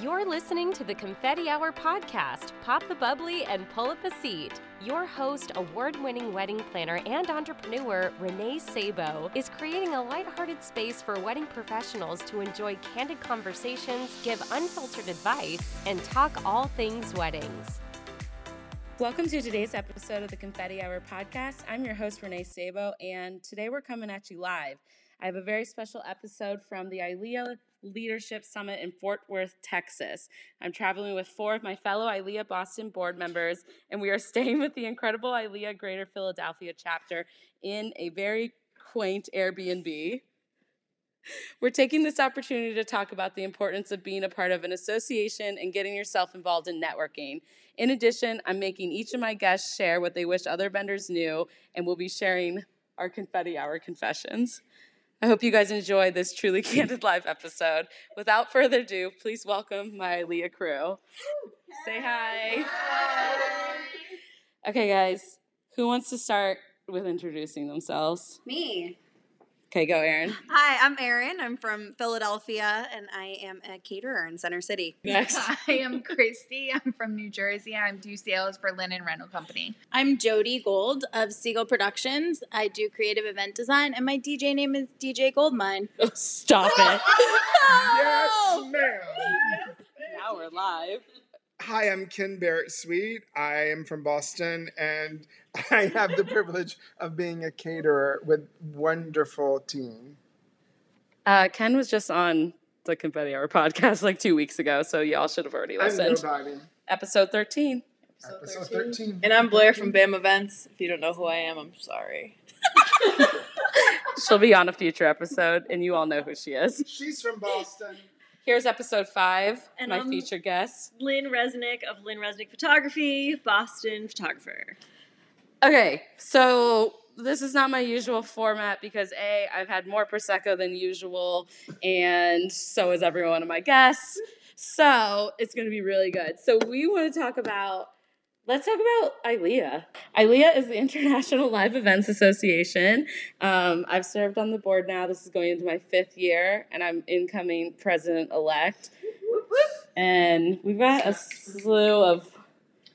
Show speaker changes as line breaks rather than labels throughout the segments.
You're listening to the Confetti Hour podcast. Pop the bubbly and pull up a seat. Your host, award winning wedding planner and entrepreneur Renee Sabo, is creating a lighthearted space for wedding professionals to enjoy candid conversations, give unfiltered advice, and talk all things weddings.
Welcome to today's episode of the Confetti Hour podcast. I'm your host, Renee Sabo, and today we're coming at you live. I have a very special episode from the ILEA Leadership Summit in Fort Worth, Texas. I'm traveling with four of my fellow ILEA Boston board members, and we are staying with the incredible ILEA Greater Philadelphia chapter in a very quaint Airbnb. We're taking this opportunity to talk about the importance of being a part of an association and getting yourself involved in networking. In addition, I'm making each of my guests share what they wish other vendors knew, and we'll be sharing our confetti hour confessions. I hope you guys enjoy this truly candid live episode. Without further ado, please welcome my Leah crew. Say hi. Okay, guys, who wants to start with introducing themselves?
Me.
Okay, go, Erin.
Hi, I'm Erin. I'm from Philadelphia, and I am a caterer in Center City.
Next.
I am Christy. I'm from New Jersey. I'm do sales for Linen Rental Company.
I'm Jody Gold of Siegel Productions. I do creative event design, and my DJ name is DJ Goldmine.
Stop it.
Yes, ma'am.
Now we're live.
Hi, I'm Ken Barrett Sweet. I am from Boston, and I have the privilege of being a caterer with wonderful team.
Uh, Ken was just on the Confetti Hour podcast like two weeks ago, so y'all should have already
I'm
listened.
nobody.
Episode 13.
Episode 13.
And I'm Blair from BAM Events. If you don't know who I am, I'm sorry.
She'll be on a future episode, and you all know who she is.
She's from Boston.
Here's episode five,
And
my
I'm-
featured guest.
Lynn Resnick of Lynn Resnick Photography, Boston photographer.
Okay, so this is not my usual format because A, I've had more Prosecco than usual, and so is every one of my guests. So it's gonna be really good. So we wanna talk about, let's talk about E ILEA. ILEA is the International Live Events Association. Um, I've served on the board now. This is going into my fifth year, and I'm incoming president elect. And we've got a slew of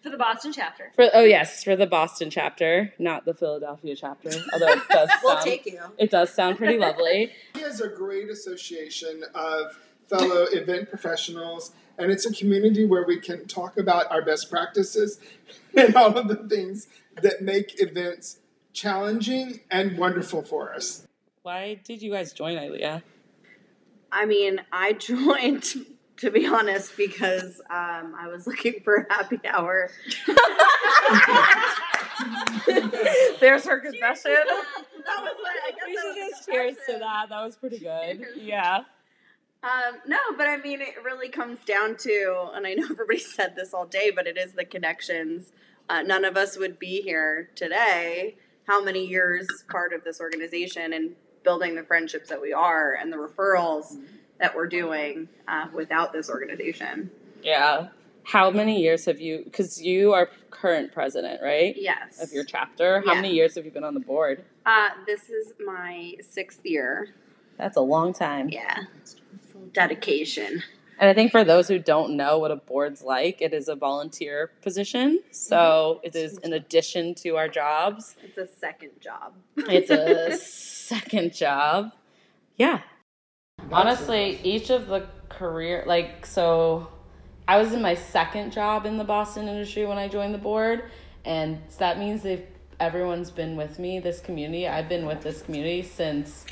For the Boston chapter.
for, oh yes, for the Boston chapter, not the Philadelphia chapter. Although it does
We'll
sound,
take you.
it does sound pretty lovely.
He has a great association of fellow event professionals, and it's a community where we can talk about our best practices and all of the things that make events challenging and wonderful for us.
Why did you guys join ILEA?
I mean, I joined to be honest because um, I was looking for a happy hour.
There's her confession.
That was what I guess.
we
that
should
was
just cheers to
impressive.
that. That was pretty good. Yeah.
Um, no, but I mean, it really comes down to, and I know everybody said this all day, but it is the connections. Uh, none of us would be here today. How many years part of this organization and building the friendships that we are and the referrals that we're doing uh, without this organization?
Yeah. How many years have you? Because you are current president, right?
Yes.
Of your chapter. How
Yeah.
many years have you been on the board?
Uh, this is my sixth year.
That's a long time.
Yeah. Dedication.
And I think for those who don't know what a board's like, it is a volunteer position. So it is in addition to our jobs.
It's a second job.
It's a second job. Yeah. Honestly, each of the career, like, so I was in my second job in the Boston industry when I joined the board. And so that means they've, everyone's been with me, this community. I've been with this community since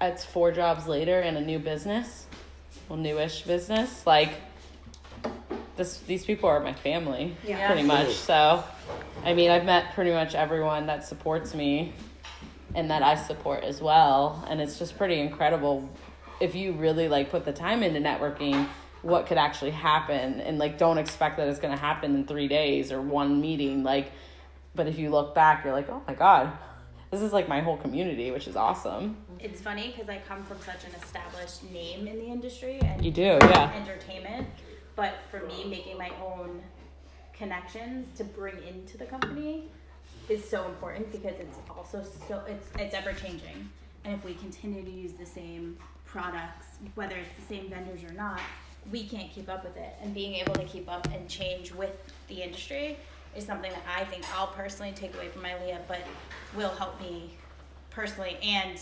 it's four jobs later and a new business, well, newish business. Like, this, these people are my family, pretty much. So, I mean, I've met pretty much everyone that supports me and that I support as well. And it's just pretty incredible if you really like put the time into networking, what could actually happen. And like, don't expect that it's going to happen in three days or one meeting. Like, but if you look back, you're like, oh my God, this is like my whole community, which is awesome.
It's funny because I come from such an established name in the industry and
You do, yeah.
entertainment, but for me, making my own connections to bring into the company is so important because it's also so it's it's ever changing. And if we continue to use the same products, whether it's the same vendors or not, we can't keep up with it. And being able to keep up and change with the industry is something that I think I'll personally take away from my Leah, but will help me personally and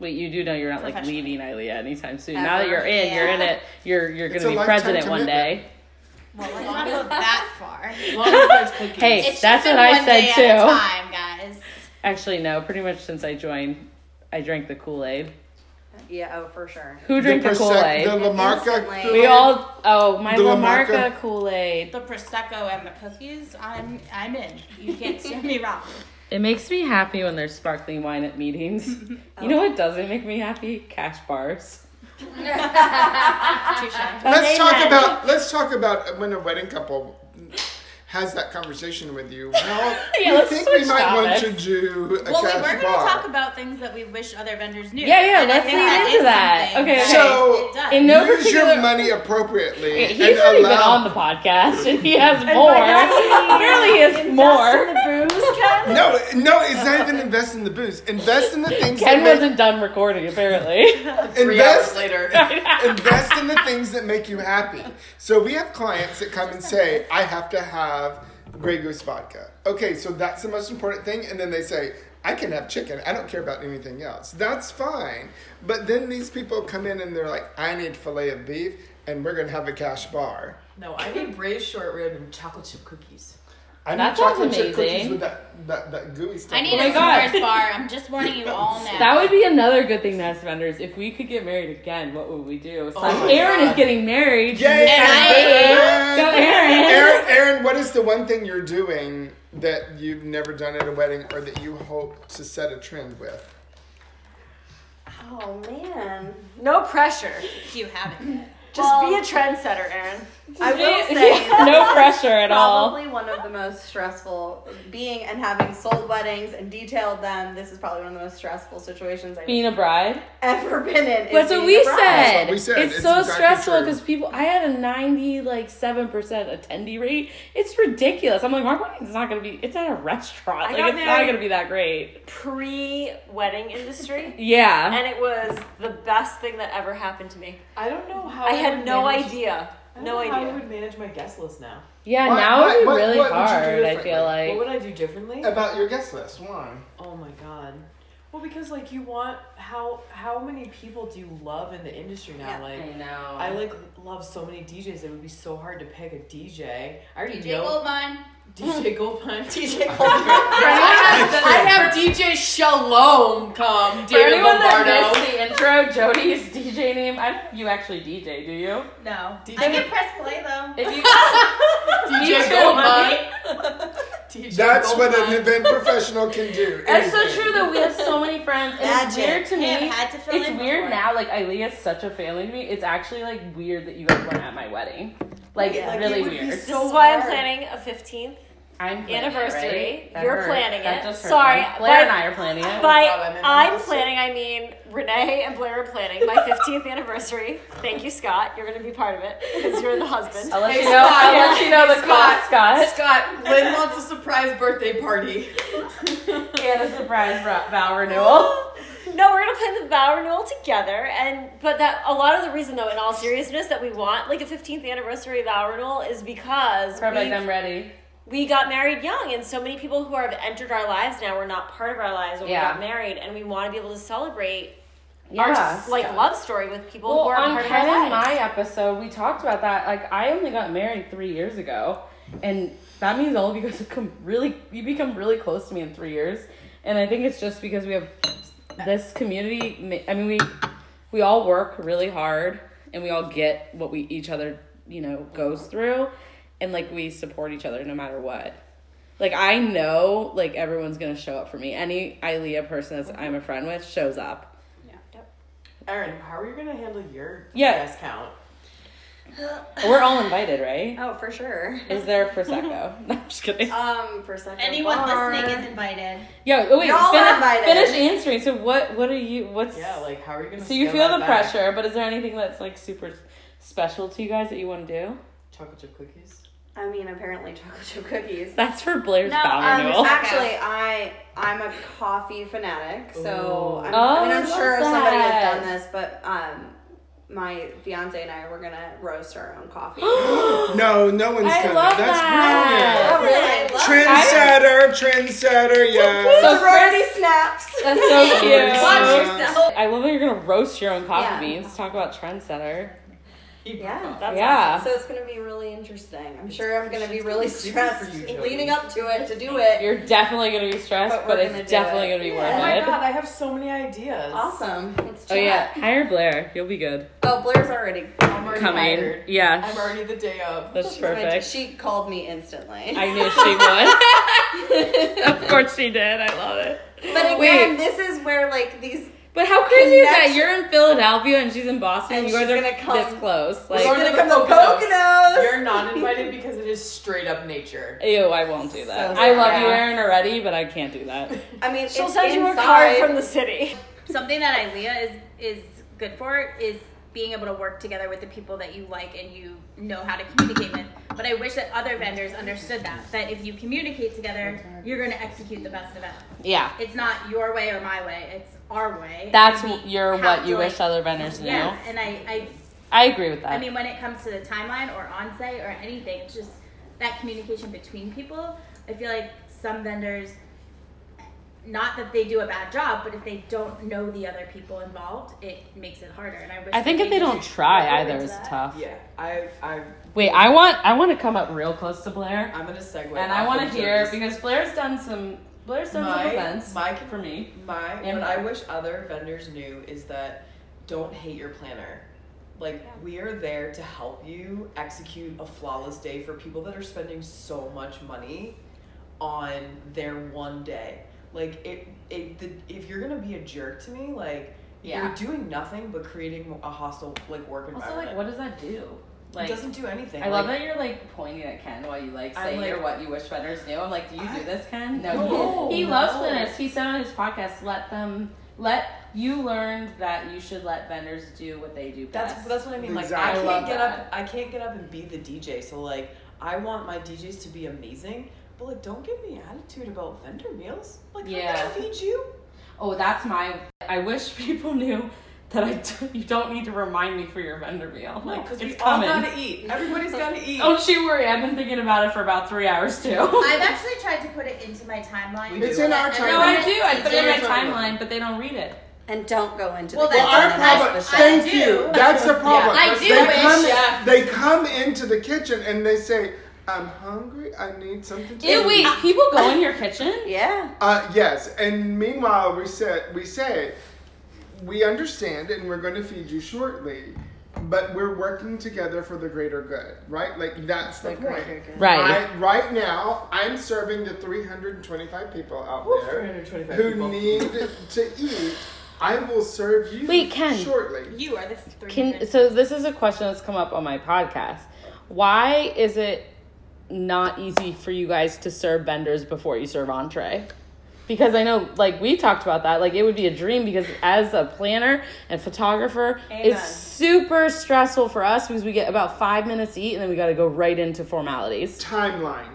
Wait, you do know you're not like
Professionally.
leaving ILEA anytime soon. Now that
Ever.
you're in, you're in
Yeah.
it. You're you're
It's
gonna
a
be
lifetime
president one day.
well, let's not go that far.
Hey,
It's just
that's
been
what I
one day
said
at
too.
a Time, guys.
Actually, no. Pretty much since I joined, I drank the Kool Aid.
Yeah, oh, for sure.
Who drank the,
Prosec-
Kool Aid?
The Lamarca.
Instantly.
Kool-Aid.
we all. Oh, my
The
Lamarca
Lamarca.
Kool Aid.
The prosecco and the cookies, I'm I'm in. You can't steer me wrong.
It makes me happy when there's sparkling wine at meetings. You
Oh.
know what doesn't make me happy? Cash bars.
Let's talk about. Let's talk about when a wedding couple has that conversation with you. Well,
Yeah,
we
let's
think we
switch
might want to
topics.
do a
Well, we
cash
were going to
bar.
talk about things that we wish other vendors knew.
Yeah, yeah,
and I
let's
think
lean
that
into
is
that.
something
Okay,
So,
it does.
in no
Use your
particular-
money appropriately.
He's
and
already been
allow-
on the podcast, and he has
Oh
more. Clearly, he
Really
has more.
No, no, it's not even invest in the booze. Invest in the things
Ken
that make,
wasn't done recording, apparently.
invest,
later.
invest in the things that make you happy. So we have clients that come and say, I have to have Grey Goose vodka. Okay, so that's the most important thing. And then they say, I can have chicken. I don't care about anything else. That's fine. But then these people come in and they're like, I need filet of beef and we're going to have a cash bar.
No, I need braised short rib and chocolate chip cookies.
That
I need
sounds
chocolate chip cookies
amazing.
with that, that, that gooey stuff.
I need
Oh my
a
God.
s'mores bar. I'm just warning you all now.
That would be another good thing to ask vendors. If we could get married again, what would we do? So
Oh my
Aaron
God.
is getting married.
Yay!
Aaron! Go Aaron!
Aaron, Aaron, what is the one thing you're doing that you've never done at a wedding or that you hope to set a trend with?
Oh man.
No pressure.
If you haven't. yet.
Just be a trendsetter, Aaron.
I will say
no pressure at all.
probably one of the most stressful being and having sold weddings and detailed them. This is probably one of the most stressful situations I've
Being a bride.
ever been in. is
That's what
being
we
a bride.
said.
what we said.
It's,
It's
so
exactly
stressful
true.
because people. I had a ninety like seven percent attendee rate. It's ridiculous. I'm like, my wedding's not gonna be. It's at a restaurant.
I
like
got
it's not
married-
gonna be that great.
Pre-wedding industry,
Yeah.
And it was the best thing that ever happened to me.
I don't know how.
I had
would
no
manage-
idea.
I don't
No
know How I
idea.
would manage my guest list now.
yeah.
What-
now
what-
it'd be
what-
really
what would you do
hard. I
differently?
feel like.
what would I do differently?
About your guest list, why?
Oh my god. Well, because like you want how how many people do you love in the industry now? Like
I know.
I like love so many DJs. It would be so hard to pick a DJ. I already
DJ
know
Goldmine.
DJ Goldmine.
DJ I'd have DJ Shalom come,
For
David
anyone that
Lombardo.
missed the intro, Jody's DJ name. I don't, you actually DJ, do you?
No.
DJ
I can press play though.
If you
DJ
Goldmine.
Goldmine.
DJ
That's what
Goldmine.
an event professional can do.
That's so
Anything.
true though. We have so many friends, and it's
Magic.
weird to me.
Yeah, I've had to fill
it's
in
weird
before.
now. Like Ilea is such a family to me. It's actually like weird that you guys weren't at my wedding. Like
Like, it
really
would be
weird.
so
This is why I'm
hard.
planning a 15th
I'm planning it,
anniversary.
right? That
You're
hurt.
planning
That
it.
just hurt
Sorry,
me. Blair
but-
and I are planning it.
By
God, I'm in
I'm
this.
planning, I mean Renee and Blair are planning my 15th anniversary. Thank you, Scott. You're going to be part of it because you're the husband.
I'll let
Hey,
you know. I'll
Scott.
let you know
Hey,
the cost, Scott.
Scott, Lynn wants a surprise birthday party.
And a surprise ro- vow renewal.
No, we're gonna plan the vow renewal together, and but that a lot of the reason, though, in all seriousness, that we want like a 15th anniversary vow renewal is because
Perfect.
we,
I'm ready.
we got married young, and so many people who have entered our lives now were not part of our lives when
Yeah.
we got married, and we want to be able to celebrate
Yeah.
our like love story with people
Well,
who are
on
part
Ken
of our
and
lives.
my episode, we talked about that. Like, I only got married three years ago, and that means all of you guys have come really, you become really close to me in three years. And I think it's just because we have this community. ma- I mean, we we all work really hard, and we all get what we each other, you know, goes through, and like we support each other no matter what. Like I know, like everyone's gonna show up for me. Any ILEA person that I'm a friend with shows up.
Aaron, how are you gonna handle your
Yeah.
guest count?
We're all invited, right?
Oh, for sure.
Is there prosecco? No, I'm just kidding.
Um, for a second.
Anyone
bar.
listening is invited.
Yo, oh wait,
Y'all
finish,
are invited.
finish answering. So what? What are you? What's?
Yeah, like how are you gonna?
so you
scale
feel
that
the
back?
pressure, but is there anything that's like super special to you guys that you want to do?
Chocolate chip cookies.
I mean, apparently chocolate chip cookies.
That's for Blair's
No,
vow
um,
renewal.
Actually, I I'm a coffee fanatic, so I'm,
Ooh.
I mean,
Oh, I
I'm sure
love
somebody has
that.
done this, but um, my fiance and I were gonna roast our own coffee.
No, no one's
I
done
love
that. That's
that.
brilliant.
Oh, really?
Trendsetter, trendsetter, yes.
So
Sorority snaps.
That's so cute.
Watch yourself.
I love that you're gonna roast your own coffee
Yeah.
beans. Talk about trendsetter.
Yeah, that's
Yeah.
awesome. So it's gonna be really interesting. I'm sure I'm gonna be
gonna
really
be super for
stressed
you, Jody.
leading up to it to do it.
You're definitely gonna be stressed,
But
but,
we're gonna
it's
do
definitely
it.
gonna be
Yeah.
Oh my
worth it.
god, I have so many ideas.
Awesome. Let's
Oh
chat.
yeah, hire Blair. You'll be good.
Oh, Blair's already.
I'm already
Coming.
hired.
Yeah.
I'm already the day of.
That's
She's my-
perfect.
She called me instantly.
I knew she would. of course she did. I love it.
But again,
Wait.
this is where like these.
But how crazy is that?
Connection.
You're in Philadelphia and she's in Boston.
And
you guys
she's
are
gonna come-
this close.
She's
Like,
Lord-
gonna
the
come to
Poconos.
Poconos.
You're not invited because it is straight up nature.
ew, I won't do that.
So
I love you,
sad.
Aaron, already, but I can't do that.
I mean,
She'll
it's
send you a
inside.
card from the city.
Something that ILEA is is good for is being able to work together with the people that you like and you know how to communicate with. But I wish that other vendors understood that that if you communicate together, you're going to execute the best event.
Yeah.
It's not your way or my way; it's our way.
That's
And we
your
have
what you
to,
wish
like-
other vendors knew.
Yeah, and I, I,
I agree with that.
I mean, when it comes to the timeline or on-site or anything, it's just that communication between people. I feel like some vendors, not that they do a bad job, but if they don't know the other people involved, it makes it harder. And I wish.
I think
that
if they don't
just
try
look
either
into
is
that.
tough.
Yeah, I, I,
Wait, I want I want to come up real close to Blair,
I'm gonna segue.
and I
off
want to
of
hear
Jody's-
because Blair's done some Blair's done
My-
some events.
my-
for me.
My
And-
what I wish other vendors knew is that don't hate your planner. Like we are there to help you execute a flawless day for people that are spending so much money on their one day. Like it, it the, if you're gonna be a jerk to me, like
Yeah.
you're doing nothing but creating a hostile like work
Also,
environment.
like, what does that do? Like,
it doesn't do anything.
I love
like,
that you're like pointing at Ken while you like
I'm
say
like-
here what you wish vendors knew. I'm like, do you
I-
do this, Ken? No,
No,
he, he loves
no.
planners. He said on his podcast, let them let you learned that you should let vendors do what they do best.
That's that's what I mean. Like
Exactly.
I
I love
can't get
that.
up. I can't get up and be the DJ. So like I want my DJs to be amazing, but like don't give me attitude about vendor meals. Like
Yeah.
I'm gonna feed you.
Oh, that's my. I wish people knew that I do, you don't need to remind me for your vendor meal.
No,
Like,
because we
Oh, it's
all
coming. Oh,
gotta eat. Everybody's gotta eat.
Don't you worry. I've been thinking about it for about three hours too.
I've actually tried to put it into my timeline.
It's in our
Everyone
no, I
has
do.
to
I put it in my
It's in your timeline.
timeline, but they don't read it.
And don't go into
Well,
the
that's
Well,
kitchen
our
and
problem.
ask the chef.
Thank you. That's the problem.
I do
They
wish-
come,
Yeah.
they come into the kitchen and they say, "I'm hungry. I need something to
Ew,
eat."
wait. People go in your kitchen.
Yeah.
Uh, yes, and meanwhile we said we say we understand and we're going to feed you shortly, but we're working together for the greater good, right? Like that's the, point.
Right.
I, right now, I'm serving the 325 people out
Woo,
there
325
who
people.
need to eat. I will serve you
Wait, Ken.
shortly.
You are the three.
Can so this is a question that's come up on my podcast. Why is it not easy for you guys to serve vendors before you serve entree? Because I know, like we talked about that, like it would be a dream. Because as a planner and photographer, it's super stressful for us because we get about five minutes to eat and then we got to go right into formalities.
Timeline.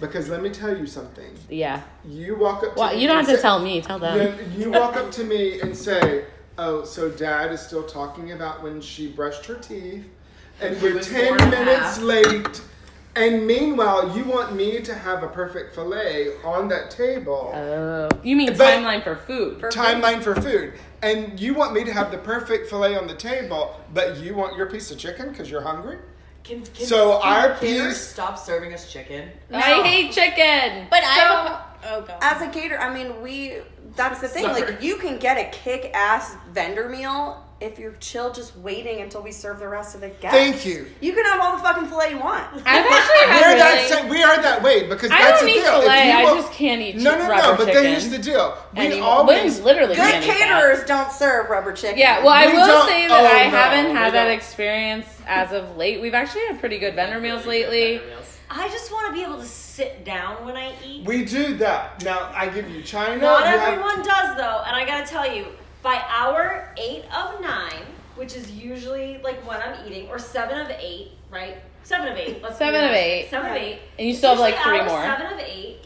Because let me tell you something.
Yeah.
You walk up to
Well,
me
you don't
and
have to
say-
tell me. Tell them.
No, you walk up to me and say, "Oh, so Dad is still talking about when she brushed her teeth, and we're
was
ten
four and a
minutes
half."
late." And meanwhile, you want me to have a perfect fillet on that table.
Oh, you mean
But-
timeline for food?
timeline for food. And you want me to have the perfect fillet on the table, but you want your piece of chicken because you're hungry?
Can, can,
So
can
our
caterers
piece-
stop serving us chicken.
I hate chicken.
But I. Oh god.
As a caterer, I mean, we. That's the thing.
Sorry.
Like, you can get a kick-ass vendor meal if you're chill, just waiting until we serve the rest of the guests.
Thank you.
You can have all the fucking fillet you want.
I've actually
We're
had really-
that sa- we are that way because
I
that's
don't
the
eat
deal. If
filet.
you
I
will-
just can't eat
no,
chi-
no, no.
rubber
But
chicken.
here's the deal. We
Anymore.
always
Women literally
Good
can't eat that.
caterers don't serve rubber chicken.
Yeah, well, I
We
will
don't-
say that
oh,
I
no,
haven't
we
had that
don't.
experience as of late. We've actually had pretty good vendor meals lately.
I just want to be able to sit down when I eat.
We do that. Now I give you China.
Not
you have-
everyone does though, and I gotta tell you, by hour eight of nine, which is usually like when I'm eating, or seven of eight, right? Seven of eight. Let's be
Seven of
realistic.
eight.
Seven of eight.
And you still have,
Usually
like, three
hour
more.
Seven of eight.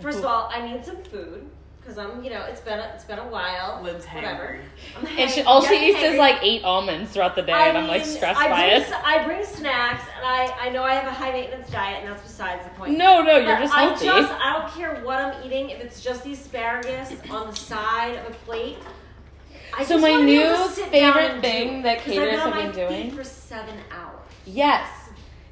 First of all, I need some food because because I'm, you know, it's been a, it's been a while.
Liv's
Whatever. I'm
And she,
hang-
all
yeah,
she eats
hangry.
is like eight almonds throughout the day,
I
and I'm like
mean,
stressed
I
by
bring,
it.
s- I bring snacks, and I, I know I have a high maintenance diet, and that's besides the point.
No, no, you're
But
just
I
healthy.
just- I don't care what I'm eating, if it's just the asparagus on the side of a plate. I
So
just
my
wanna be able
new
to sit down
favorite
and do
thing
it,
that
'cause I've
caterers
been on
have been
my feet
doing-
for seven hours.
Yes.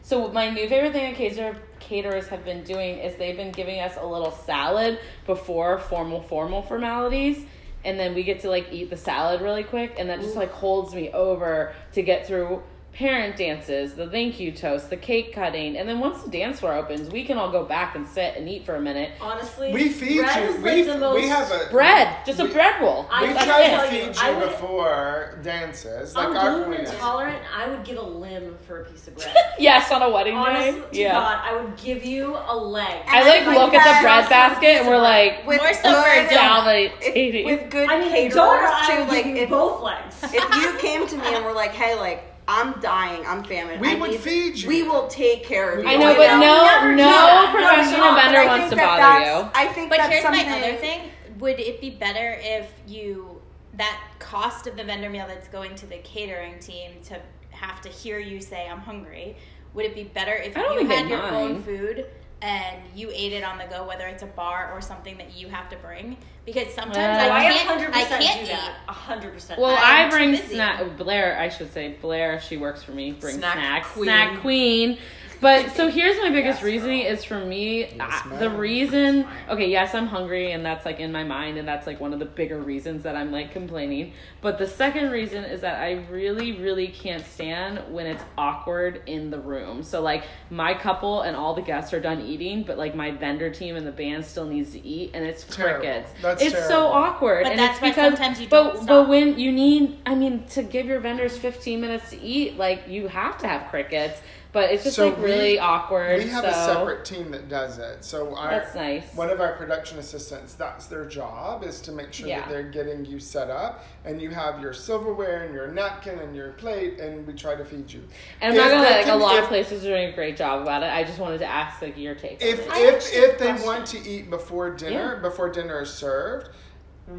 So my new favorite thing that cater- caterers have been doing is they've been giving us a little salad before formal formal formalities. And then we get to like eat the salad really quick, and that just like holds me over to get through parent dances, the thank you toast, the cake cutting, and then once the dance floor opens, we can all go back and sit and eat for a minute.
Honestly,
We feed
bread
you.
is
We,
like the
we
most-
have a
bread, just a bread roll.
I
we
can
try
tell
to
you,
feed you,
I would-
before dances. Like
I'm
our
gluten
point is,
intolerant. I would give a limb for a piece of bread.
Yes, on a wedding
Honestly,
day.
to
Yeah.
God, I would give you a leg.
I like look at the bread basket and we're like,
With
more
so for a
validating.
with good
I mean, a
caterers
daughter, I
too.
would
Like
give you
if,
both legs.
if you came to me and were like, "Hey, like I'm dying, I'm famine.
We
I
would
need-
feed you.
We will take care of you."
I know, but no, no professional
but
vendor
I
wants
think
to
that
bother
that's-
you.
I think
But
that's
here's
something.
my other thing. Would it be better if you that cost of the vendor meal that's going to the catering team to have to hear you say I'm hungry? Would it be better if
I don't
you
think
had
they'd
your own
mind.
food and you ate it on the go, whether it's a bar or something that you have to bring? Because sometimes
Uh,
I
I
can't.
100%
I can't
do
eat.
that. 100%.
Well,
I'm
I
too
bring
busy.
snack. Blair, I should say Blair. She works for me. Brings
Snack
snacks.
queen.
Snack queen. But so here's my biggest
Yes,
reasoning
girl.
is for me
Yes,
I- the
ma'am.
reason.
Yes, ma'am.
Okay, yes, I'm hungry, and that's like in my mind, and that's like one of the bigger reasons that I'm like complaining. But the second reason is that I really, really can't stand when it's awkward in the room. So like my couple and all the guests are done eating, but like my vendor team and the band still needs to eat, and it's
Terrible.
crickets.
That's
it's so
terrible.
awkward,
But
and
that's
it's
why
because
sometimes you don't
but but
stop.
when you need, I mean, to give your vendors 15 minutes to eat, like you have to have crickets. But it's just
So
like
we-
really awkward.
We have
so.
a separate team that does it. So our,
That's nice.
One of our production assistants, that's their job, is to make sure
Yeah.
that they're getting you set up, and you have your silverware and your napkin and your plate, and we try to feed you.
And I'm not
If
gonna
they
lie, like a
can-
lot
if-
of places are doing a great job about it. I just wanted to ask like your take.
If
on it.
I
if
actually have
if
a
they
question.
want to eat before dinner, before dinner is served.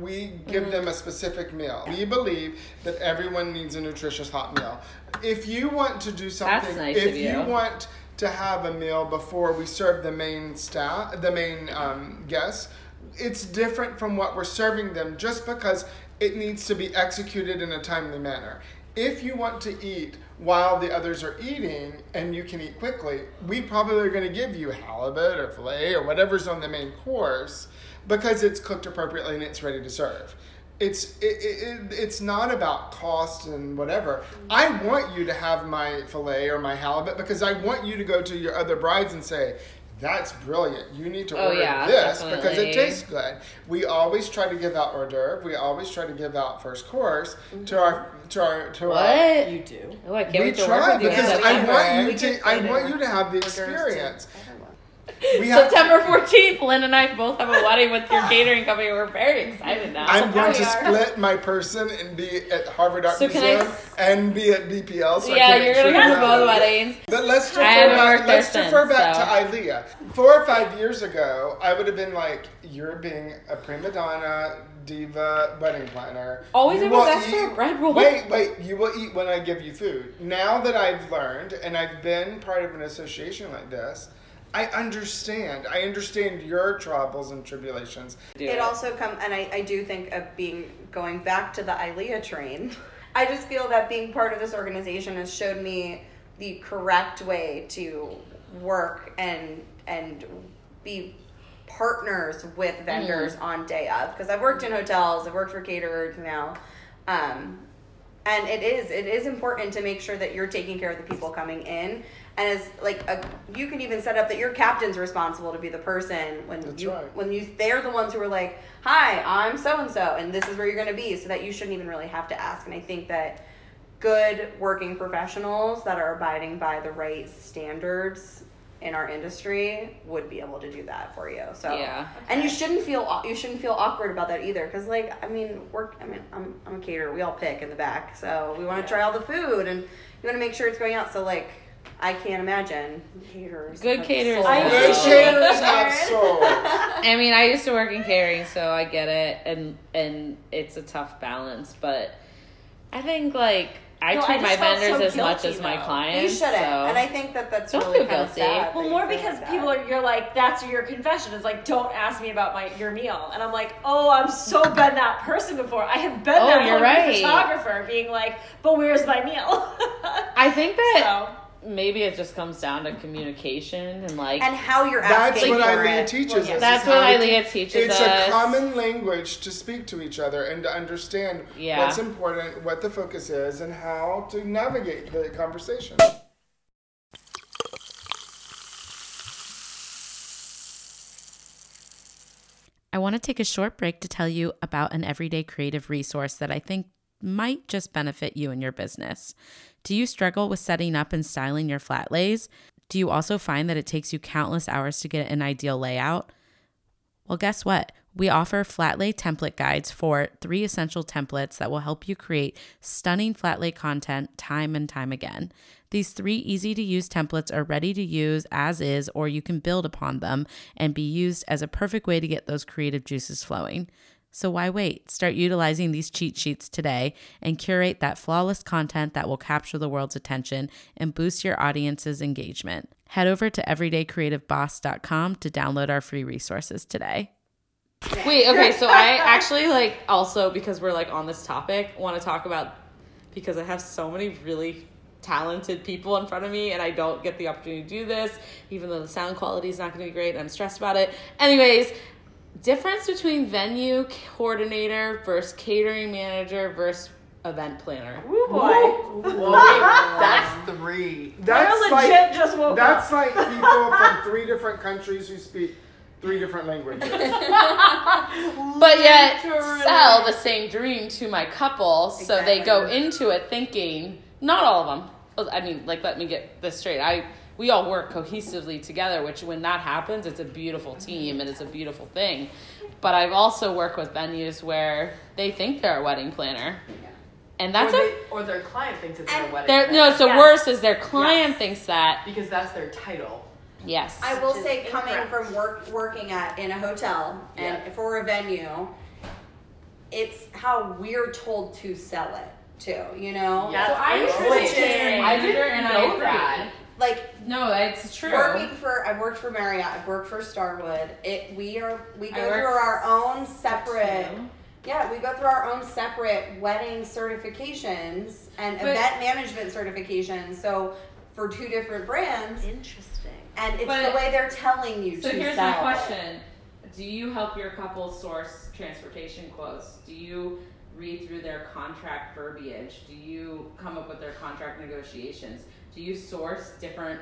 We give
Mm-hmm.
them a specific meal. We believe that everyone needs a nutritious hot meal. If you want to do something,
nice
if
of you.
want to have a meal before we serve the main staff, the main um, guests, it's different from what we're serving them just because it needs to be executed in a timely manner. If you want to eat while the others are eating and you can eat quickly, we probably are going to give you halibut or filet or whatever's on the main course because it's cooked appropriately and it's ready to serve. It's it, it, it- it's not about cost and whatever. I want you to have my fillet or my halibut because I want you to go to your other brides and say, "That's brilliant. You need to
Oh,
order
yeah,
this because
definitely.
it tastes good." We always try to give out hors d'oeuvre. We always try to give out first course to our to our to our.
Mm-hmm. what?
You do.
Oh, I can't
We
wait to work
try
with you. in
because I
September.
want
We
you to.
can
I
cater
want you to have the
to
experience. We have-
September 14th, Lynn and I both have a wedding with your catering company. We're very excited now.
I'm going to split my person and be at Harvard Art
So can I
Museum
s-
and be at BPL. So I
yeah,
can
you're gonna go
actually
to
go.
both weddings.
But let's
I haven't
defer back,
worked there
let's defer
since,
back
so.
to Ilea. Four or five years ago, I would have been like, "You're being a prima donna, diva, wedding planner."
Always
You
everyone's
will
asked for a
eat-
bread roll.
Wait, wait. You will eat when I give you food. Now that I've learned and I've been part of an association like this, I understand. I understand your troubles and tribulations.
Do
It also comes, and I, I do think of being going back to the ILEA train. I just feel that being part of this organization has showed me the correct way to work and and be partners with vendors on day of because I've worked in hotels, I've worked for caterers now. Um, and it is it is important to make sure that you're taking care of the people coming in and as like a, you can even set up that your captain's responsible to be the person when
That's
you
right.
when you they're the ones who are like hi i'm so and so and this is where you're going to be so that you shouldn't even really have to ask and i think that good working professionals that are abiding by the right standards in our industry would be able to do that for you so
Yeah.
and you shouldn't feel au- you shouldn't feel awkward about that either because like i mean work i mean I'm, I'm a caterer we all pick in the back so we want to try all the food and you want to make sure it's going out so like
I can't imagine. Caterers.
Good
have
caterers.
souls.
I- Good
caterers have
I mean, I used to work in catering, so I get it, and and it's a tough balance. But I think like I
No, I
treat
just
my
felt so
vendors as much
guilty,
as my
though.
clients.
You shouldn't.
so-
And I think that that's
Don't
really
feel
kind of
guilty.
sad.
Well,
that
more
you think
because
that.
people are, you're like, that's your confession. It's like, don't ask me about my your meal. And I'm like, oh, I've so been that person before. I have been
Oh,
that
you're right.
hungry photographer being like, but where's my meal?
I think that
so,
maybe it just comes down to communication and like
and how you're
That's
asking
what
for
Eileen
it.
teaches
Well,
us.
yeah.
is
That's
how
what
we-
Eileen teaches
it's
us.
a common language to speak to each other and to understand
Yeah.
what's important, what the focus is, and how to navigate the conversation.
I want to take a short break to tell you about an everyday creative resource that I think might just benefit you and your business. Do you struggle with setting up and styling your flat lays? Do you also find that it takes you countless hours to get an ideal layout? Well, guess what? We offer flat lay template guides for three essential templates that will help you create stunning flat lay content time and time again. These three easy to use templates are ready to use as is, or you can build upon them and be used as a perfect way to get those creative juices flowing. So why wait? Start utilizing these cheat sheets today and curate that flawless content that will capture the world's attention and boost your audience's engagement. Head over to everydaycreativeboss.com to download our free resources today.
Wait, okay, so I actually like also because we're like on this topic, want to talk about because I have so many really talented people in front of me and I don't get the opportunity to do this, even though the sound quality is not going to be great and I'm stressed about it. Anyways, difference between venue coordinator versus catering manager versus event planner.
ooh, boy.
That's three.
That's
legit
like
just woke
that's like people from three different countries who speak three different languages.
But yet sell the same dream to my couple, so they go into it thinking not all of them. well, I mean, like let me get this straight. I we all work cohesively together, which when that happens, it's a beautiful team and it's a beautiful thing. But I've also worked with venues where they think they're a wedding planner, and that's
or,
a
they, or their client thinks it's their wedding.
their,
day.
no. So
Yes.
worse is their client thinks that
because that's their title.
yes.
I will
Which is
say, coming
incorrect.
from work, working at in a hotel and
Yeah.
for a venue, it's how we're told to sell it too. You know,
Yeah.
That's
So I used to
interesting.
say-
I didn't know
agree.
that.
like
No, it's true.
working for I've worked for Marriott, I've worked for Starwood. It we are we
I
go
worked
through our own separate.
Two.
Yeah, we go through our own separate wedding certifications and
But-
event management certifications. So for two different brands,
Interesting.
and it's
But-
the way they're telling you
So
to
here's my
sell.
question: Do you help your couple source transportation quotes? Do you read through their contract verbiage? Do you come up with their contract negotiations? Do you source different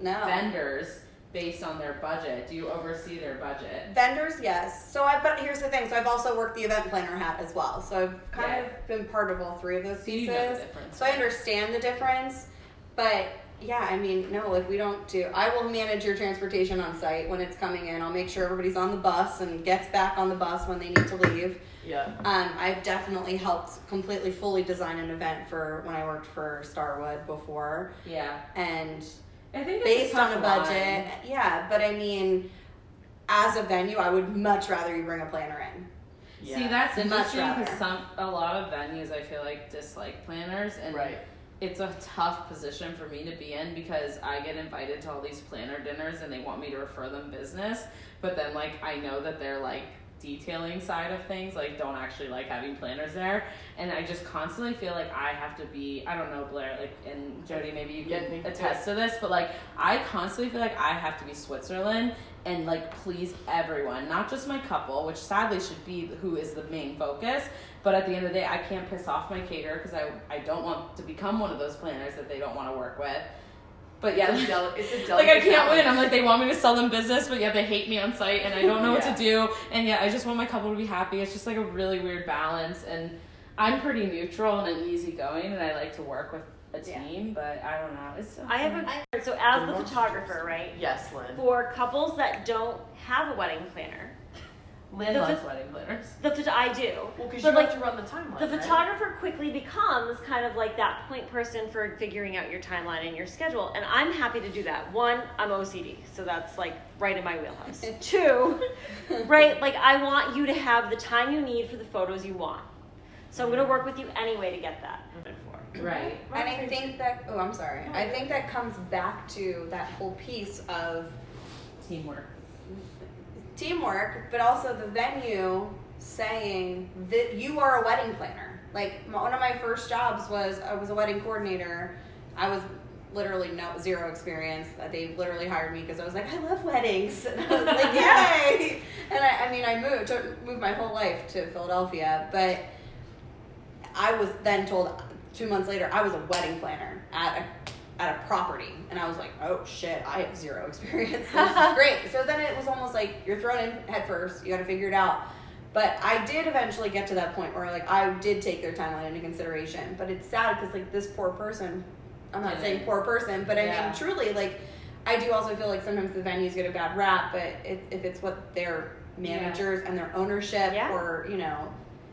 No.
vendors based on their budget? Do you oversee their budget?
Vendors, yes. So I but here's the thing. So I've also worked the event planner hat as well. So I've kind
Yeah.
of been part of all three of those
So you
pieces.
know the difference.
So I understand the difference, but yeah, I mean, no, like we don't do. I will manage your transportation on site when it's coming in. I'll make sure everybody's on the bus and gets back on the bus when they need to leave.
Yeah.
Um, I've definitely helped completely fully design an event for when I worked for Starwood before,
Yeah,
and
I think it's
based on a
tough
budget.
line.
Yeah, but I mean, as a venue, I would much rather you bring a planner in.
yeah.
See, that's
Much
interesting
rather.
because some a lot of venues I feel like dislike planners and
right.
it's a tough position for me to be in because I get invited to all these planner dinners and they want me to refer them business, but then like I know that they're like detailing side of things like don't actually like having planners there and I just constantly feel like I have to be I don't know Blair like and Jody maybe you
Yeah, I
can
think-
attest to this but like I constantly feel like I have to be Switzerland and like please everyone not just my couple which sadly should be who is the main focus but at the end of the day, I can't piss off my caterer because I, I don't want to become one of those planners that they don't want to work with. But yeah,
It's a del- it's a
like I
delicate
can't win. I'm
balance.
like they want me to sell them business, but yet they hate me on site, and I don't know what to do. And yet I just want my couple to be happy. It's just like a really weird balance. And I'm pretty neutral and I'm easygoing, and I like to work with a team. But I don't know. It's
I have a so as the photographer, right?
Yes, Lynn.
For couples that don't have a wedding planner,
Lynn
The
loves
pho-
wedding planners.
That's what I do.
Well, 'cause
But,
you have to run the timeline,
The
right?
photographer quickly becomes kind of like that point person for figuring out your timeline and your schedule. And I'm happy to do that. One, I'm OCD, so that's like right in my wheelhouse. And two, right, like I want you to have the time you need for the photos you want. So I'm going to work with you anyway to get that.
Right. And I think that, oh, I'm sorry. I think that comes back to that whole piece of
Teamwork.
teamwork, but also the venue saying that you are a wedding planner. Like my, one of my first jobs was I was a wedding coordinator. I was literally no zero experience. Uh, They literally hired me because I was like, I love weddings. And I was like, yay! And I, I mean, I moved moved my whole life to Philadelphia, but I was then told two months later I was a wedding planner at a, at a property, and I was like, oh shit, I have zero experience. This is great. So then it was almost like you're thrown in head first. You got to figure it out. But I did eventually get to that point where like I did take their timeline into consideration. But it's sad because like this poor person, I'm not
Yeah.
saying poor person, but I
Yeah.
mean truly like I do also feel like sometimes the venues get a bad rap, but if, if it's what their
Yeah.
managers and their ownership or you know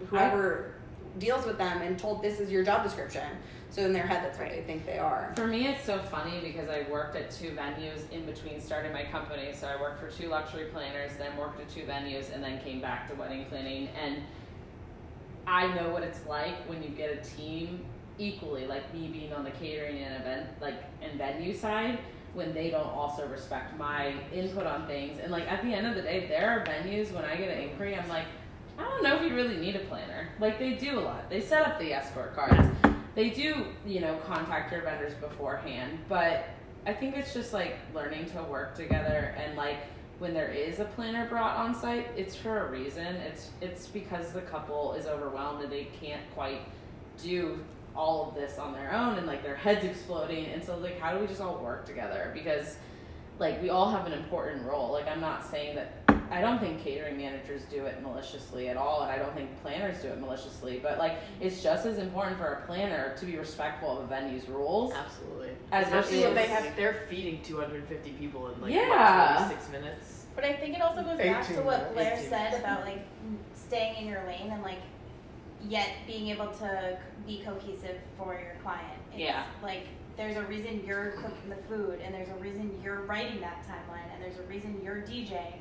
whoever deals with them and told this is your job description. So in their head, that's what they think they are.
For me, it's so funny because I worked at two venues in between starting my company. So I worked for two luxury planners, then worked at two venues, and then came back to wedding planning. And I know what it's like when you get a team equally, like me being on the catering and event, like and venue side, when they don't also respect my input on things. And like at the end of the day, there are venues when I get an inquiry, I'm like, I don't know if you really need a planner. Like they do a lot. They set up the escort cards. They do, you know, contact your vendors beforehand, but I think it's just like learning to work together and like when there is a planner brought on site, it's for a reason. It's it's because the couple is overwhelmed and they can't quite do all of this on their own and like their heads exploding and so like how do we just all work together because like we all have an important role. Like I'm not saying that I don't think catering managers do it maliciously at all, and I don't think planners do it maliciously. But like it's just as important for a planner to be respectful of a venue's rules.
Absolutely.
As much
Especially
as
when they have they're feeding 250 people in like
Yeah.
what, 26 minutes.
But I think it also goes back to
18
what Blair
minutes.
said about like staying in your lane and like yet being able to c- be cohesive for your client.
Yeah.
Like there's a reason you're cooking the food and there's a reason you're writing that timeline and there's a reason you're DJing.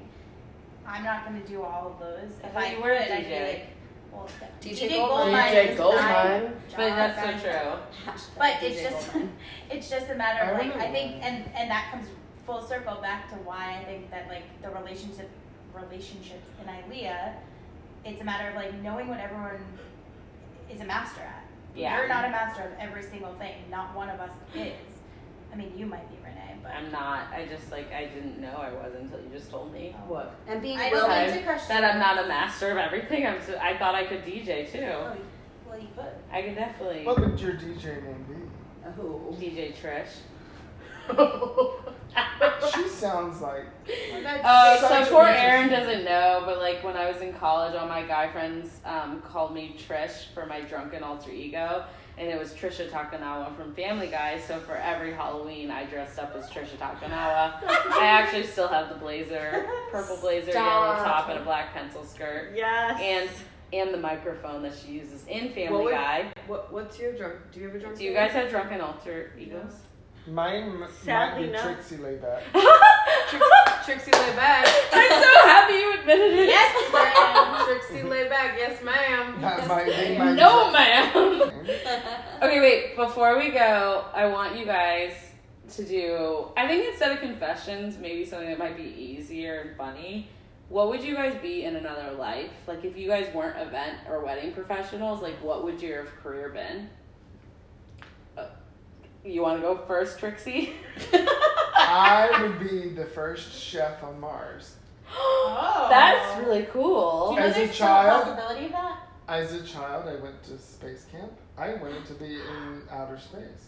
I'm not going to do all of those.
I
If
thought
I
you were a
could, I'd be
DJ.
like, well,
DJ Goldmine.
Goldmine.
DJ
is
Goldmine.
my
But
job.
that's so
I'm-
true.
But
DJ
it's just it's just a matter
I
of like
remember
I think and and that comes full circle back to why I think that like the relationship relationships in ILEA, it's a matter of like knowing what everyone is a master at.
Yeah.
You're not a master of every single thing. Not one of us is. I mean, you might be Renee, but
I'm not. I just like I didn't know I was until you just told me. What?
And being
I don't willing- like to crush
that I'm not a master of everything. I'm. So, I thought I could DJ too.
well, Oh, you could.
I could definitely.
What would your DJ name be?
Oh.
DJ Trish.
she sounds like. like
Oh,
such
so poor
an
Aaron doesn't
interesting-
know, but like when I was in college, all my guy friends um, called me Trish for my drunken alter ego, and it was Trisha Takanawa from Family Guy. So for every Halloween, I dressed up as Trisha Takanawa. I actually still have the blazer, purple blazer, yellow
Stop.
top, and a black pencil skirt. Yes. And and the microphone that she uses in Family
What would-
Guy.
What what's your drunk? Do you have a drunk?
Do you guys have drunken alter egos?
Mine m-
Sadly,
might be
no.
Trixie Layback.
Trixie Layback.
I'm so happy you admitted it.
Yes, ma'am. Trixie Layback. Yes, ma'am.
That might be my
No, ma'am. okay, wait. Before we go, I want you guys to do. I think instead of confessions, maybe something that might be easier and funny. What would you guys be in another life? Like, if you guys weren't event or wedding professionals, like, what would your career been? Uh, You want to go first, Trixie?
I would be the first chef on Mars.
That's really cool.
As a child,
possibility of that?
as a child, I went to space camp. I wanted to be in outer space.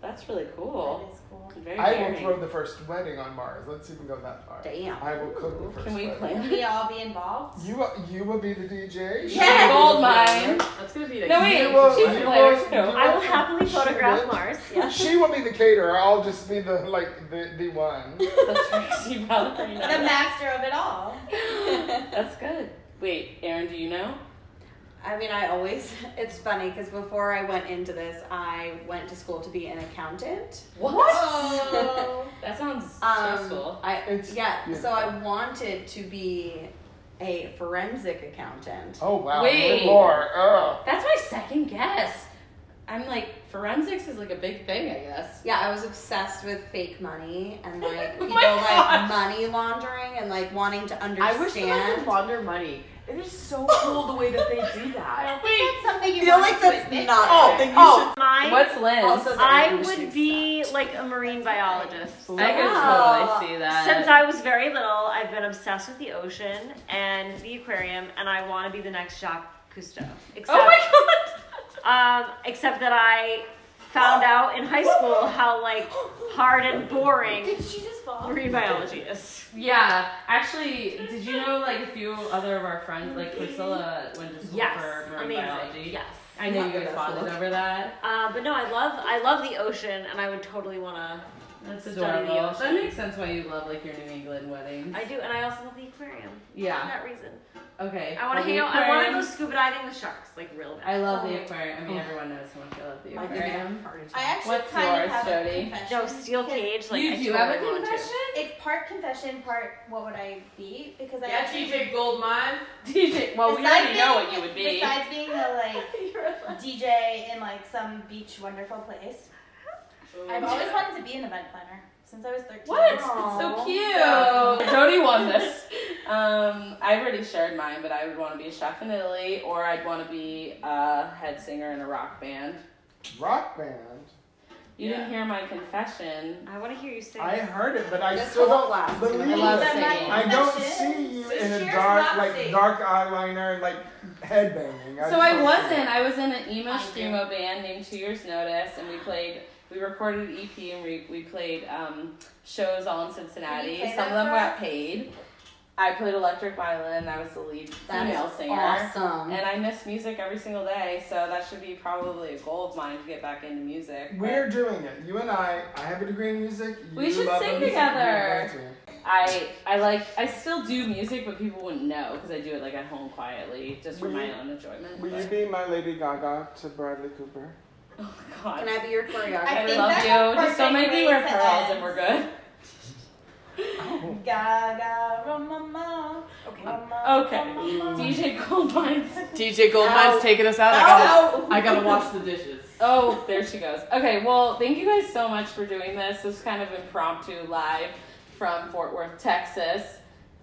That's really cool.
That is cool.
Very
I will
daring.
throw the first wedding on Mars. Let's even go that far.
Damn.
I will cook the first.
Can we
wedding.
plan?
Can we all be involved?
You you will be the DJ. she
Yes!
will be the
Goldmine.
planner.
That's gonna be like
No, wait,
You will-
she's a
you
planner
will-
too.
you
I will
will-
happily
she
photograph
will-
Mars, yeah.
She will be the caterer. I'll just be the like the the one.
The Trixie Ballerina.
The master of it all.
That's good. Wait, Aaron, do you know?
I mean, I always, it's funny because before I went into this, I went to school to be an accountant. Um,
What? Oh. Um, that sounds stressful.
I, yeah, so I wanted to be a forensic accountant.
Oh wow!
Wait.
Good lord. Ugh.
That's my second guess. I'm like, forensics is like a big thing, I guess.
Yeah, I was obsessed with fake money and like
Oh
you
my
know, like
gosh.
money laundering and like wanting to understand.
I wish that I could launder money. It is so cool the way that they do that.
something
you
feel
wanted
like
to
that's
admit
not
to. Oh,
something you
oh,
should-
My,
What's Lynn's? Also,
I
you
would be like a marine biologist.
I could totally see that.
Since I was very little, I've been obsessed with the ocean and the aquarium, and I want to be the next Jacques Cousteau. Except,
Oh my
god! Um, except that I found out in high school how like hard and boring marine biology is.
Yeah, actually, did you know like a few other of our friends, like Priscilla, went to school
Yes,
for marine
amazing,
biology?
yes.
I know
Yeah,
you guys
that's
bonded
cool.
over that.
Uh, but no, I love I love the ocean, and I would totally want to.
That's
study
adorable.
The
That
ocean.
makes sense why you love like your New England weddings.
I do, and I also love the aquarium.
Yeah.
For that reason.
Okay.
I want to
well, the
hang out. I want to go Oh.
aquarium-
scuba diving with sharks, like real bad.
I love the aquarium. I mean, everyone knows how much I love the
Like,
aquarium.
I
actually What's kind of yours, have a Jody? confession.
No steel cage. Like
You
I
do have a
totally want to.
It's part confession, part what would I be? Because I
Yeah,
actually-
TJ Goldmine.
DJ, well, we
Besides
already know
being-
what you would be.
Besides being a like DJ in like some beach wonderful place, I've always wanted to be an event planner since I was thirteen.
What? It's so cute. Jody won this. Um, I've already shared mine, but I would want to be a chef in Italy, or I'd want to be a head singer in a rock band.
Rock band.
You didn't hear my confession.
I want to hear you sing.
I heard it, but I
This
still
will not last.
believe
I love
it.
singing.
I don't see you in a dark, like dark eyeliner, like headbanging.
So I wasn't. I was in an emo screamo band named Two Years Notice, and we played. We recorded an EP and we, we played um, shows all in Cincinnati.
play
Some
that
of them
for
got
us?
paid. I played electric violin. I was the lead
That
female
is
singer.
awesome.
And I miss music every single day, so that should be probably a goal of mine to get back into music.
We're doing it. You and I. I have a degree in music.
We
you
should
love
sing
music, we
together.
love to.
I I like I still do music, but people wouldn't know because I do it like at home quietly, just for
Will
my
you-
own enjoyment.
Will you
but- oh
be my Lady Gaga to Bradley Cooper?
God.
Can I be your choreographer?
I,
I think
love
that's
you.
the
Just don't make
perfect
me
way
wear
to
pearls
end.
and we're good.
Gaga, mama. Okay.
Okay. DJ Goldmine.
DJ Goldmine's taking us out. I gotta, I gotta wash the dishes.
Oh, there she goes. Okay, well, thank you guys so much for doing this. This was kind of impromptu live from Fort Worth, Texas.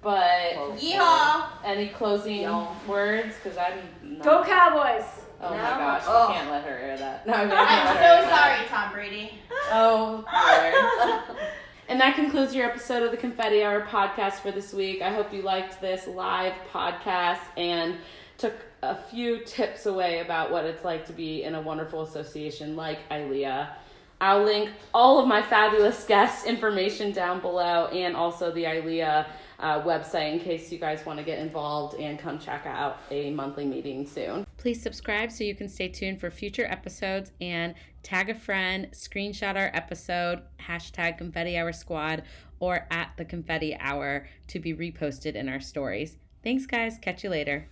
But
Yeehaw.
Any closing words? Because I'm not-
Go Cowboys.
Oh my
No.
gosh,
Oh.
I can't let her hear that. No, I'm,
I'm
gonna let her hear
so
that.
sorry, Tom Brady.
Oh, Lord. and that concludes your episode of the Confetti Hour podcast for this week. I hope you liked this live podcast and took a few tips away about what it's like to be in a wonderful association like ILEA. I'll link all of my fabulous guest information down below and also the ILEA uh, website in case you guys want to get involved and come check out a monthly meeting soon. Please subscribe so you can stay tuned for future episodes and tag a friend, screenshot our episode, hashtag confetti hour squad, or at the confetti hour to be reposted in our stories. Thanks, guys. Catch you later.